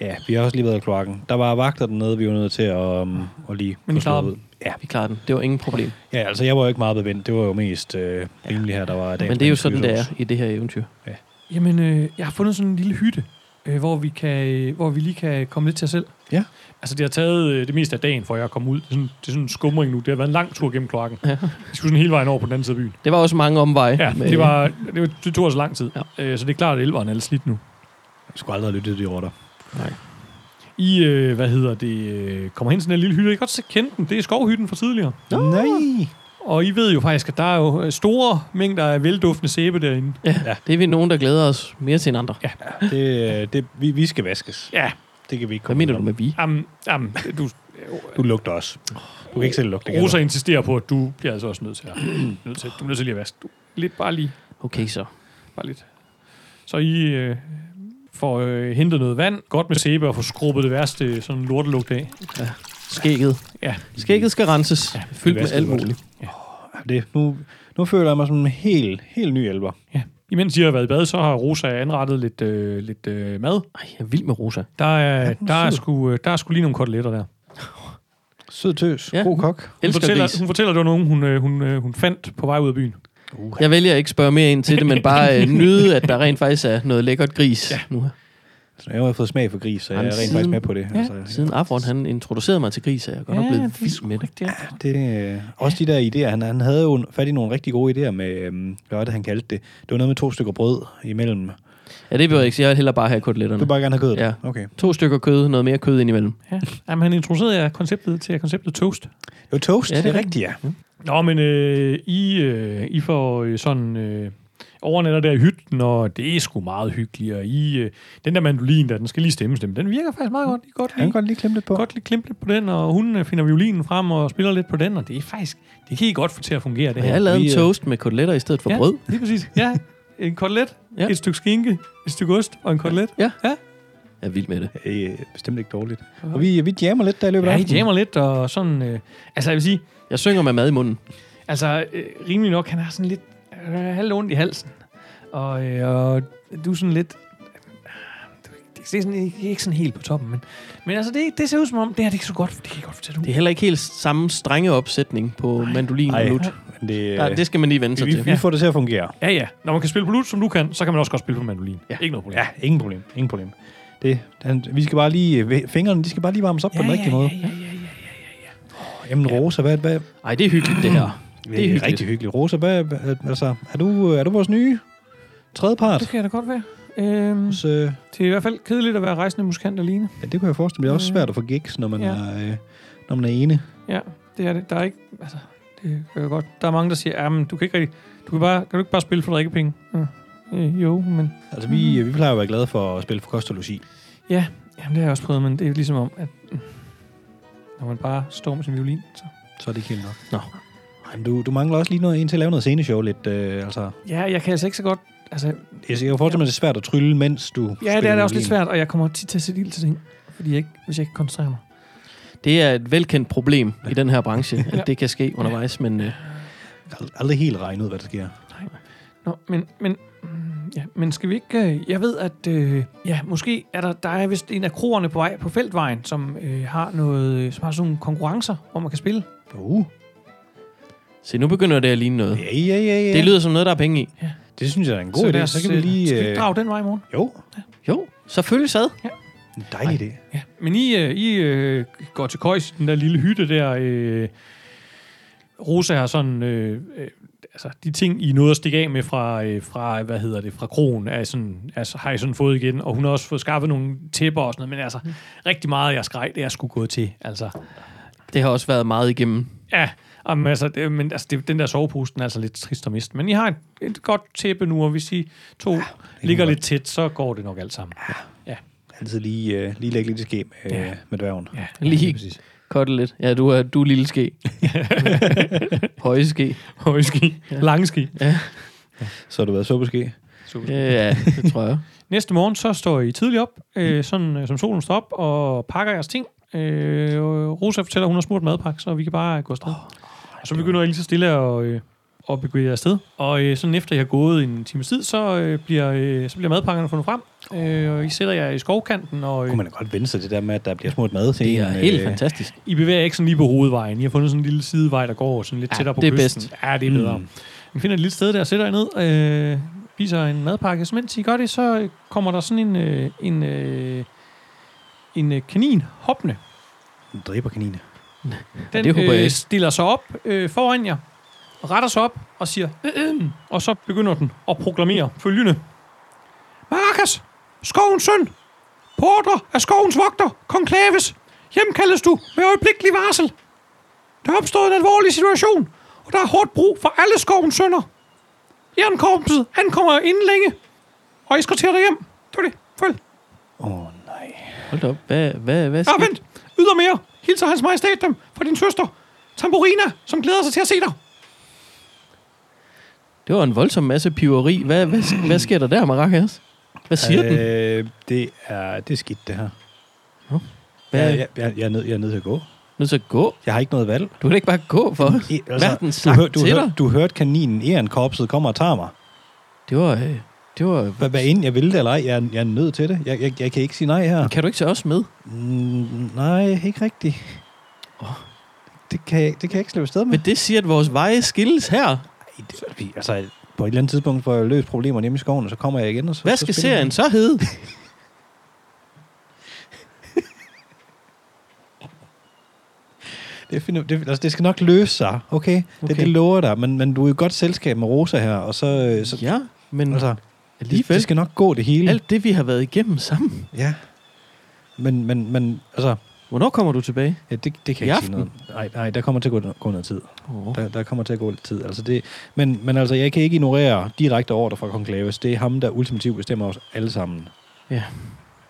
[SPEAKER 1] Ja, vi har også lige været i kloakken. Der var vagter dernede, vi var nødt til at, um, at lige...
[SPEAKER 2] Men I
[SPEAKER 1] få slået
[SPEAKER 2] klarede
[SPEAKER 1] ud. Ja.
[SPEAKER 3] Vi klarer den. Det var ingen problem.
[SPEAKER 1] ja, altså, jeg var jo ikke meget bevendt. Det var jo mest øh, rimeligt her, der var... dagens
[SPEAKER 3] Men det er jo
[SPEAKER 1] menneske
[SPEAKER 3] sådan,
[SPEAKER 1] hos
[SPEAKER 3] det er
[SPEAKER 1] os.
[SPEAKER 3] i det her eventyr.
[SPEAKER 2] Jamen, øh, jeg har fundet sådan en lille hytte, øh, hvor, vi kan, øh, hvor vi lige kan komme lidt til os selv.
[SPEAKER 1] Ja.
[SPEAKER 2] Altså, det har taget øh, det meste af dagen, for jeg er kommet ud. Det er sådan, det er sådan en skumring nu. Det har været en lang tur gennem kloakken.
[SPEAKER 3] Ja.
[SPEAKER 2] Vi skulle sådan hele vejen over på den anden side af byen.
[SPEAKER 3] Det var også mange omveje.
[SPEAKER 2] Ja,
[SPEAKER 3] Men-
[SPEAKER 2] det, var, det, var, det tog altså lang tid.
[SPEAKER 3] Ja.
[SPEAKER 2] Øh, så det er klart, at elveren er lidt slidt nu.
[SPEAKER 1] Jeg skulle aldrig have lyttet til de rotter.
[SPEAKER 2] I, øh, hvad hedder det, øh, kommer hen til den her lille hytte. I kan godt se kende den. Det er skovhytten fra tidligere.
[SPEAKER 1] Nej!
[SPEAKER 2] Og I ved jo faktisk, at der er jo øh, store mængder af velduftende sæbe derinde.
[SPEAKER 3] Det er vi nogen, der glæder os mere til end andre. Ja.
[SPEAKER 1] Det, øh, det, vi, vi skal vaskes.
[SPEAKER 2] Ja,
[SPEAKER 1] Det kan vi ikke
[SPEAKER 3] Hvad
[SPEAKER 1] komme
[SPEAKER 3] mener du
[SPEAKER 1] udenom.
[SPEAKER 3] med vi?
[SPEAKER 2] jamen, jamen du,
[SPEAKER 1] Du lugter også. Du kan ikke selv lugte. kan
[SPEAKER 2] Rosa
[SPEAKER 1] du?
[SPEAKER 2] insisterer på, at du bliver altså også nødt til at, <clears throat> nødt til, du er nødt til lige at vaske. Du, lidt, bare lige,
[SPEAKER 3] Okay, så.
[SPEAKER 2] bare lidt. Så I øh, får øh, hentet noget vand, godt med sæbe, og får skrubbet det værste sådan lortelugt af.
[SPEAKER 3] Skægget.
[SPEAKER 2] Ja.
[SPEAKER 3] Skægget skal renses. Ja, fyldt med
[SPEAKER 1] vasker
[SPEAKER 3] alt
[SPEAKER 1] godt.
[SPEAKER 3] muligt.
[SPEAKER 1] det, nu, nu føler jeg mig som en helt, helt ny elver.
[SPEAKER 2] Ja. Imens de har været i bad, så har Rosa anrettet lidt, øh, lidt øh, mad.
[SPEAKER 3] Ej, jeg er vild med Rosa.
[SPEAKER 2] Der er,
[SPEAKER 1] den er
[SPEAKER 2] der, er
[SPEAKER 1] sød.
[SPEAKER 2] sgu, øh, der er sgu lige nogle koteletter der.
[SPEAKER 1] Sød tøs.
[SPEAKER 3] Ja.
[SPEAKER 1] God kok.
[SPEAKER 2] Hun
[SPEAKER 3] Elsker
[SPEAKER 2] fortæller,
[SPEAKER 3] gris.
[SPEAKER 2] hun fortæller, at det var nogen, hun, øh, hun, øh, hun fandt på vej ud af byen.
[SPEAKER 3] Jeg vælger ikke at spørge mere ind til det,
[SPEAKER 1] <laughs>
[SPEAKER 3] men bare øh, nyde, at der rent faktisk er noget lækkert gris ja. nu her.
[SPEAKER 1] Så jeg har fået smag for gris, så jeg er
[SPEAKER 3] Jamen,
[SPEAKER 1] rent
[SPEAKER 3] siden-
[SPEAKER 1] faktisk med på det. Altså,
[SPEAKER 2] ja,
[SPEAKER 3] Siden Afron, han introducerede mig til gris, er jeg godt nok blevet vild med det.
[SPEAKER 2] rigtigt.
[SPEAKER 1] Det, øh, også de der idéer. Han, han havde jo fat i nogle rigtig gode idéer med, øhm, hvad var det, han kaldte det? Det var noget med to stykker brød imellem. Du
[SPEAKER 3] Ja, det vil jeg ikke sige. Jeg vil hellere bare have
[SPEAKER 1] vil
[SPEAKER 3] koteletterne.
[SPEAKER 1] bare gerne have kødet?
[SPEAKER 3] Ja.
[SPEAKER 1] Okay.
[SPEAKER 3] To stykker kød, noget mere kød indimellem.
[SPEAKER 2] Ja. Jamen, han introducerede jer konceptet til konceptet toast.
[SPEAKER 1] Det var toast.
[SPEAKER 3] Ja, det er
[SPEAKER 1] rigtigt, ja.
[SPEAKER 2] Nå, men øh, I, øh, I får øh, sådan øh, overnatter der i hytten, og det er sgu meget hyggeligt. Og I, øh, den der mandolin der, den skal lige stemmes dem. Den virker faktisk meget godt. I kan godt
[SPEAKER 1] Han kan
[SPEAKER 2] lide,
[SPEAKER 1] godt lige klemme lidt på.
[SPEAKER 2] godt lige klimpe lidt på den, og hun øh, finder violinen frem og spiller lidt på den, og det er faktisk, det kan I godt få til at fungere, det
[SPEAKER 3] Og
[SPEAKER 2] her.
[SPEAKER 3] jeg lavede
[SPEAKER 1] vi,
[SPEAKER 3] en
[SPEAKER 1] øh,
[SPEAKER 3] toast med koteletter i stedet for
[SPEAKER 2] ja,
[SPEAKER 3] brød.
[SPEAKER 2] lige præcis. Ja, en kotelet,
[SPEAKER 3] Ja.
[SPEAKER 2] ja. et stykke skinke, et stykke ost og en kotelet.
[SPEAKER 3] Jeg er vild med det.
[SPEAKER 1] Øh, bestemt ikke dårligt. Og vi, vi jammer lidt der i løbet af
[SPEAKER 2] Ja, I
[SPEAKER 1] aftenen.
[SPEAKER 2] jammer lidt, og sådan... Øh, altså, jeg vil sige,
[SPEAKER 3] Jeg synger med mad i munden.
[SPEAKER 2] Altså, øh, rimelig nok, han har sådan lidt øh, halvt ondt i halsen. Og, øh, og du er sådan lidt... du- Det er, sådan, ikke- ikke sådan helt på toppen, men, men altså, det, det ser ud som om, det her, det er så godt, det kan jeg godt fortælle
[SPEAKER 3] Det
[SPEAKER 2] dig.
[SPEAKER 3] er heller ikke helt samme strenge opsætning på mandolin og
[SPEAKER 1] Ej,
[SPEAKER 3] lut.
[SPEAKER 1] men det, øh,
[SPEAKER 3] Der, det skal man lige vende sig
[SPEAKER 1] vi,
[SPEAKER 3] til.
[SPEAKER 1] vi får det til at fungere.
[SPEAKER 2] Ja, ja. Når man kan spille på lut, som du kan, så kan man også godt spille på mandolin. Ja. Ikke noget problem.
[SPEAKER 1] Ja, ingen problem. Ingen problem. Det, han, vi skal bare lige, øh, fingrene de skal bare lige varmes op ja, på den rigtige
[SPEAKER 2] ja,
[SPEAKER 1] måde.
[SPEAKER 2] ja, ja, ja, ja.
[SPEAKER 1] Jamen Rosa, hvad, hvad,
[SPEAKER 3] Ej, det er hyggeligt, det her.
[SPEAKER 1] det er hyggeligt. rigtig hyggeligt. Rosa, hvad, hvad- altså, er du, er du vores nye tredjepart?
[SPEAKER 2] Det kan da godt være. Øhm,
[SPEAKER 1] Så, øh,
[SPEAKER 2] det er i hvert fald kedeligt at være rejsende musikant alene.
[SPEAKER 1] ja, det kunne jeg forestille mig. Det er også svært at få gigs, når man,
[SPEAKER 2] Mm. Ja.
[SPEAKER 1] ja. er, øh, når man er ene.
[SPEAKER 2] Ja, det er det. Der er ikke... Altså, det er godt. Der er mange, der siger, at du kan ikke rigtig... Du kan, bare, kan du ikke bare spille for drikkepenge? Ja. Øh, jo, men...
[SPEAKER 1] Altså, vi,
[SPEAKER 2] Mm.
[SPEAKER 1] vi plejer at være glade for at spille for kost og logi.
[SPEAKER 2] Jamen, det har jeg også prøvet, men det er jo ligesom om, at mm, når man bare står med sin violin, så...
[SPEAKER 1] Så er det ikke helt nok.
[SPEAKER 3] Nå.
[SPEAKER 1] Ej, men du, du mangler også lige noget en til at lave noget sceneshow lidt. Øh, altså,
[SPEAKER 2] Ja, jeg kan altså ikke så godt... Altså, ja,
[SPEAKER 1] jeg kan forestille mig, det er svært at trylle, mens du
[SPEAKER 2] det er da også lidt
[SPEAKER 1] violin.
[SPEAKER 2] svært, og jeg kommer tit til at sætte ild til ting, fordi jeg ikke, hvis jeg ikke koncentrerer mig.
[SPEAKER 3] Det er et velkendt problem i den her branche,
[SPEAKER 2] Ja.
[SPEAKER 3] at det kan ske undervejs, men øh,
[SPEAKER 1] Jeg har aldrig helt regnet ud, hvad der sker.
[SPEAKER 2] Nå, men, men, mm, ja, men skal vi ikke... Øh, jeg ved, at øh, ja, måske er der, der er vist en af kroerne på vej på Feltvejen, som, øh, har noget, øh, som har sådan nogle konkurrencer, hvor man kan spille.
[SPEAKER 1] Uh,
[SPEAKER 3] se, nu begynder det at ligne noget.
[SPEAKER 1] ja, ja, ja, ja.
[SPEAKER 3] Det lyder som noget, der er penge i.
[SPEAKER 1] det synes jeg er en god idé.
[SPEAKER 2] lad
[SPEAKER 1] Så
[SPEAKER 2] os,
[SPEAKER 1] kan vi
[SPEAKER 2] øh,
[SPEAKER 1] lige...
[SPEAKER 2] Skal vi
[SPEAKER 1] øh,
[SPEAKER 2] ikke drage den vej i morgen?
[SPEAKER 1] Jo,
[SPEAKER 3] Jo, selvfølgelig sad.
[SPEAKER 1] en dejlig idé.
[SPEAKER 2] Ja, men I, øh, I øh, går til køjs, i den der lille hytte der. Øh, Rosa har sådan... Øh, øh, altså, de ting, I nåede at stikke af med fra, øh, fra hvad hedder det, fra krogen, er sådan, altså, har I sådan fået igen. Og hun har også fået skaffet nogle tæpper og sådan noget. Men altså, rigtig meget af jeres grej, det er sgu gået til. Altså,
[SPEAKER 3] Det har også været meget igennem.
[SPEAKER 2] ja, om, altså, det, men altså, det, den der soveposten er altså lidt trist at miste. Men I har et, et godt tæppe nu, og hvis I to ja, ligger lidt tæt, så går det nok alt sammen.
[SPEAKER 1] Altid lige, øh, lige lægge lidt i ske med,
[SPEAKER 2] Ja.
[SPEAKER 1] ja. med dværgen.
[SPEAKER 2] Ja.
[SPEAKER 3] Lige
[SPEAKER 1] præcis.
[SPEAKER 3] kotte lidt. Ja, du er, du er lille <laughs> ske. Høje ske.
[SPEAKER 2] Høje ski. Lange ski.
[SPEAKER 1] Så har du været så på ske.
[SPEAKER 3] Ja, det tror jeg.
[SPEAKER 2] Næste morgen, så står I tidligt op, øh, sådan øh, som solen står op, og pakker jeres ting. Øh, og Rosa fortæller, at hun har smurt madpakke, så vi kan bare gå afsted. Oh, og så begynder I lige så stille at, øh, at begive jer afsted. Og øh, sådan efter I har gået en times tid, så, øh, bliver, øh, så bliver madpakkerne fundet frem. Øh, og I sætter jer i skovkanten, og øh,
[SPEAKER 1] Kunne man da godt vende sig det der med, at der bliver smurt mad til
[SPEAKER 3] Det
[SPEAKER 1] en. øh,
[SPEAKER 3] er øh, helt fantastisk.
[SPEAKER 2] I bevæger jer ikke sådan lige på hovedvejen. I har fundet sådan en lille sidevej, der går sådan lidt
[SPEAKER 3] Ja,
[SPEAKER 2] tættere på
[SPEAKER 3] det er
[SPEAKER 2] kysten.
[SPEAKER 3] bedst.
[SPEAKER 2] Ja, det er bedre.
[SPEAKER 1] Mm.
[SPEAKER 2] Mm. I finder et lille sted der, sætter jer ned, øh, spiser en madpakke. Så mens I gør det, så øh, kommer der sådan en, øh, en, øh, en øh, kanin hoppende.
[SPEAKER 1] En dræberkanine.
[SPEAKER 2] Den
[SPEAKER 3] det håber jeg ikke.
[SPEAKER 2] stiller sig op øh, foran jer, retter sig op og siger, øh, øh, og så begynder den at proklamere følgende. Markus, skovens søn, porter af skovens vogter, kong Klaves, hjemkaldes du med øjeblikkelig varsel. Der er opstået en alvorlig situation, og der er hårdt brug for alle skovens sønner. Jernkorpset ankommer inden længe, og I skal til dig hjem. Det var det. Følg.
[SPEAKER 1] Åh, oh, nej.
[SPEAKER 3] Hold da op. Hvad, hvad, hvad
[SPEAKER 2] Ja,
[SPEAKER 3] skete?
[SPEAKER 2] vent. Ydermere hilser hans majestæt dem fra din søster, Tamburina, som glæder sig til at se dig.
[SPEAKER 3] Det var en voldsom masse piveri. Hvad, hvad, hvad sker der der, Maracas? Hvad siger den?
[SPEAKER 1] Øh, det, er, det er skidt, det her.
[SPEAKER 3] Hvad,
[SPEAKER 1] Jeg, jeg, jeg, jeg, er nød, jeg er nødt til at gå.
[SPEAKER 3] Nødt til at gå?
[SPEAKER 1] Jeg har ikke noget valg.
[SPEAKER 3] Du kan da ikke bare gå for os.
[SPEAKER 1] I-
[SPEAKER 3] Verden
[SPEAKER 1] du,
[SPEAKER 3] sagt
[SPEAKER 1] hør, du,
[SPEAKER 3] til
[SPEAKER 1] hør,
[SPEAKER 3] dig.
[SPEAKER 1] du hørte kaninen, ærenkorpset kommer og tager mig.
[SPEAKER 3] Det var... Øh, det var
[SPEAKER 1] Hvad, hvad end jeg ville det eller ej, jeg, er- jeg er nødt til det. Jeg, jeg, jeg kan ikke sige nej her.
[SPEAKER 3] kan du ikke tage os med?
[SPEAKER 1] Mm, nej, ikke rigtigt. Det kan, jeg, det kan jeg ikke slippe afsted med.
[SPEAKER 3] Men det siger, at vores veje skilles her.
[SPEAKER 1] Ej, det, vi- altså, på et eller andet tidspunkt får jeg løst problemerne hjemme i skoven, og så kommer jeg igen. Og så,
[SPEAKER 3] Hvad
[SPEAKER 1] så
[SPEAKER 3] skal
[SPEAKER 1] spiller vi.
[SPEAKER 3] serien så hedde?
[SPEAKER 1] Det, finder, det, altså, det skal nok løse sig, okay? okay. Det,
[SPEAKER 3] Okay.
[SPEAKER 1] det lover jeg dig, men, men du er i godt selskab med Rosa her, og så... øh, <laughs> så
[SPEAKER 3] Ja, men
[SPEAKER 1] altså, det,
[SPEAKER 3] alligevel.
[SPEAKER 1] det skal nok gå det hele.
[SPEAKER 3] Alt det, vi har været igennem sammen.
[SPEAKER 1] Ja. Men, men, men altså,
[SPEAKER 3] Hvornår kommer du tilbage?
[SPEAKER 1] ja, det, det kan
[SPEAKER 3] I
[SPEAKER 1] jeg ikke sige
[SPEAKER 3] aften?
[SPEAKER 1] noget. Nej, nej, der kommer til at gå, gå noget tid.
[SPEAKER 3] Oh.
[SPEAKER 1] Der, der kommer til at gå lidt tid. Altså det, men, men altså, jeg kan ikke ignorere direkte ordre fra kong Claves. Det er ham, der ultimativt bestemmer os alle sammen.
[SPEAKER 3] Ja.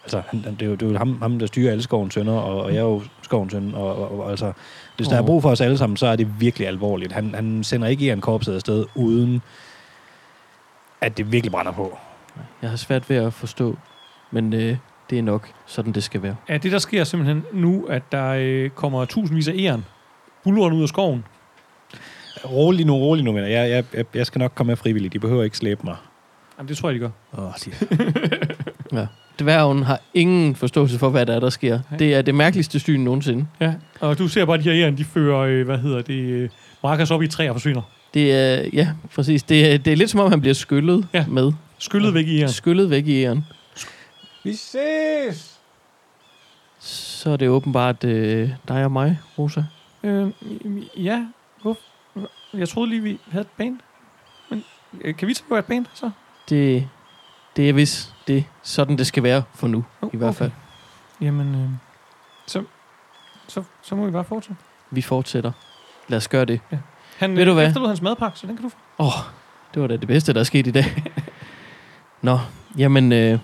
[SPEAKER 1] Altså, han, han- det er jo, det er jo ham, ham, der styrer alle skovens sønner, og, og jeg er jo skovens søn. Og, og, og, altså, hvis der er
[SPEAKER 3] Åh.
[SPEAKER 1] brug for os alle sammen, så er det virkelig alvorligt. Han, han sender ikke en korpset afsted, uden at det virkelig brænder på.
[SPEAKER 3] Jeg har svært ved at forstå, men øh, det er nok sådan, det skal være.
[SPEAKER 2] Ja, det der sker simpelthen nu, at der øh, kommer tusindvis af æren bullerne ud af skoven.
[SPEAKER 1] Rolig nu, rolig nu, men jeg, jeg, jeg, jeg skal nok komme med frivilligt. De behøver ikke slæbe mig.
[SPEAKER 2] Jamen, det tror jeg, de gør.
[SPEAKER 1] Åh, de
[SPEAKER 3] Dværgen har ingen forståelse for, hvad der er, der sker.
[SPEAKER 2] Nej.
[SPEAKER 3] Det er det mærkeligste syn nogensinde.
[SPEAKER 2] Ja, og du ser bare, at de her æren, de fører, øh, hvad hedder det, øh, Markus op i træer og forsvinder.
[SPEAKER 3] Det er, ja, præcis. Det er, det er lidt som om, han bliver skyllet
[SPEAKER 2] Ja.
[SPEAKER 3] ja. med.
[SPEAKER 2] Skyllet væk i
[SPEAKER 3] Ja.
[SPEAKER 2] æren.
[SPEAKER 3] Skyllet væk i æren.
[SPEAKER 4] Vi ses!
[SPEAKER 3] Så er det åbenbart øh, dig og mig, Rosa.
[SPEAKER 2] Øh, ja, Uf. jeg troede lige, vi havde et band. Men øh, kan vi tage på et band, så?
[SPEAKER 3] Det, det er vist det, er sådan det skal være for nu,
[SPEAKER 2] Oh,
[SPEAKER 3] i hvert
[SPEAKER 2] okay.
[SPEAKER 3] fald.
[SPEAKER 2] Jamen, øh, så, så, så må vi bare fortsætte.
[SPEAKER 3] Vi fortsætter. Lad os gøre det.
[SPEAKER 2] Han
[SPEAKER 3] Ved du
[SPEAKER 2] øh,
[SPEAKER 3] hvad?
[SPEAKER 2] efterlod hans madpakke, så den kan du få.
[SPEAKER 3] Åh, oh, det var da det bedste, der er sket i dag. <laughs> Nå, jamen, øh,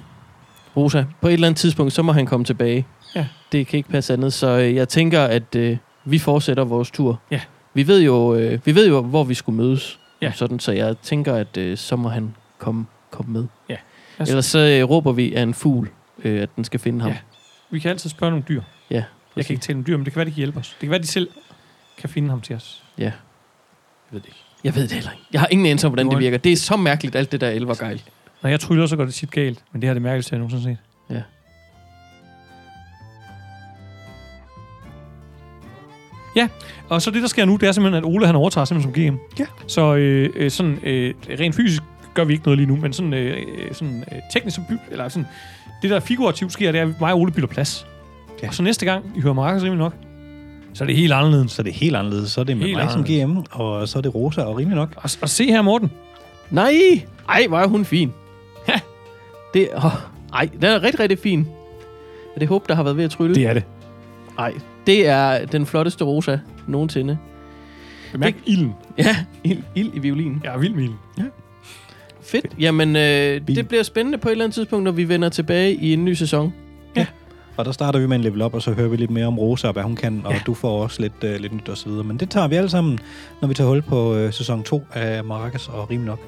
[SPEAKER 3] Rosa, på et eller andet tidspunkt, så må han komme tilbage.
[SPEAKER 2] Ja.
[SPEAKER 3] Det kan ikke passe andet, så øh, jeg tænker, at øh, vi fortsætter vores tur.
[SPEAKER 2] Ja.
[SPEAKER 3] Vi ved jo, øh, vi ved jo hvor vi skulle mødes.
[SPEAKER 2] Ja.
[SPEAKER 3] Sådan, så jeg tænker, at øh, så må han komme, komme med.
[SPEAKER 2] Ja.
[SPEAKER 3] Altså. Ellers så øh, råber vi af en fugl, øh, at den skal finde ham.
[SPEAKER 2] Ja, Vi kan altid spørge nogle dyr.
[SPEAKER 3] Ja,
[SPEAKER 2] Jeg kan ikke tale om dyr, men det kan være, de kan hjælpe os. Det kan være, de selv kan finde ham til os.
[SPEAKER 3] Jeg ved det heller ikke. Jeg har ingen anelse om, hvordan
[SPEAKER 2] Du
[SPEAKER 3] det
[SPEAKER 2] har-
[SPEAKER 3] virker. Det er så mærkeligt, alt det der elvergejl.
[SPEAKER 2] Når jeg tryller, så går det tit galt, men det her er det mærkeligste, jeg nogensinde har set. Ja, og så det, der sker nu, det er simpelthen, at Ole han overtager simpelthen som GM.
[SPEAKER 1] Ja.
[SPEAKER 2] Så øh, øh, sådan, øh, rent fysisk gør vi ikke noget lige nu, men sådan, øh, øh, sådan øh, teknisk, så by- eller sådan, det der figurativt sker, det er, at mig og Ole bytter plads.
[SPEAKER 1] Ja.
[SPEAKER 2] Ja. Og så næste gang, I hører Markus rimelig nok, så er det helt anderledes.
[SPEAKER 1] Så er det helt anderledes. Så er det med
[SPEAKER 2] Helt
[SPEAKER 1] helt mig som GM, og så er det Rosa, og rimelig nok.
[SPEAKER 2] Og, og se her, Morten.
[SPEAKER 3] Nej! Ej, var hun fin.
[SPEAKER 2] Ja.
[SPEAKER 3] Det, åh, ej, den er rigtig, rigtig fin. Er det håb, der har været ved at trylle?
[SPEAKER 1] er det.
[SPEAKER 3] Ej, det er den flotteste rosa nogensinde.
[SPEAKER 2] Bemærk ilden.
[SPEAKER 3] Ja, ild, ild i violinen.
[SPEAKER 2] Jeg er vild med ilden.
[SPEAKER 3] Fedt. Jamen, øh,
[SPEAKER 1] Bil.
[SPEAKER 3] det bliver spændende på et eller andet tidspunkt, når vi vender tilbage i en ny sæson.
[SPEAKER 1] Og der starter vi med en level up, og så hører vi lidt mere om Rosa og hvad hun kan, og
[SPEAKER 2] Ja.
[SPEAKER 1] ja. du får også lidt, øh, lidt nyt og så videre. Men det tager vi alle sammen, når vi tager hul på øh, sæson 2 af Marcus og Rimelig nok.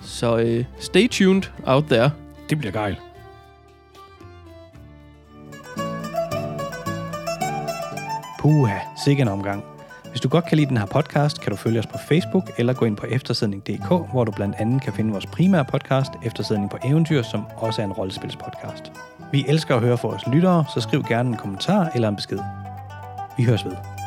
[SPEAKER 3] Så øh, stay tuned out there.
[SPEAKER 1] Det bliver gejl. Puha, sikke en omgang. Hvis du godt kan lide den her podcast, kan du følge os på Facebook eller gå ind på eftersidning.dk, hvor du blandt andet kan finde vores primære podcast, Eftersidning på Eventyr, som også er en rollespilspodcast. Vi elsker at høre fra vores lyttere, så skriv gerne en kommentar eller en besked. Vi høres ved.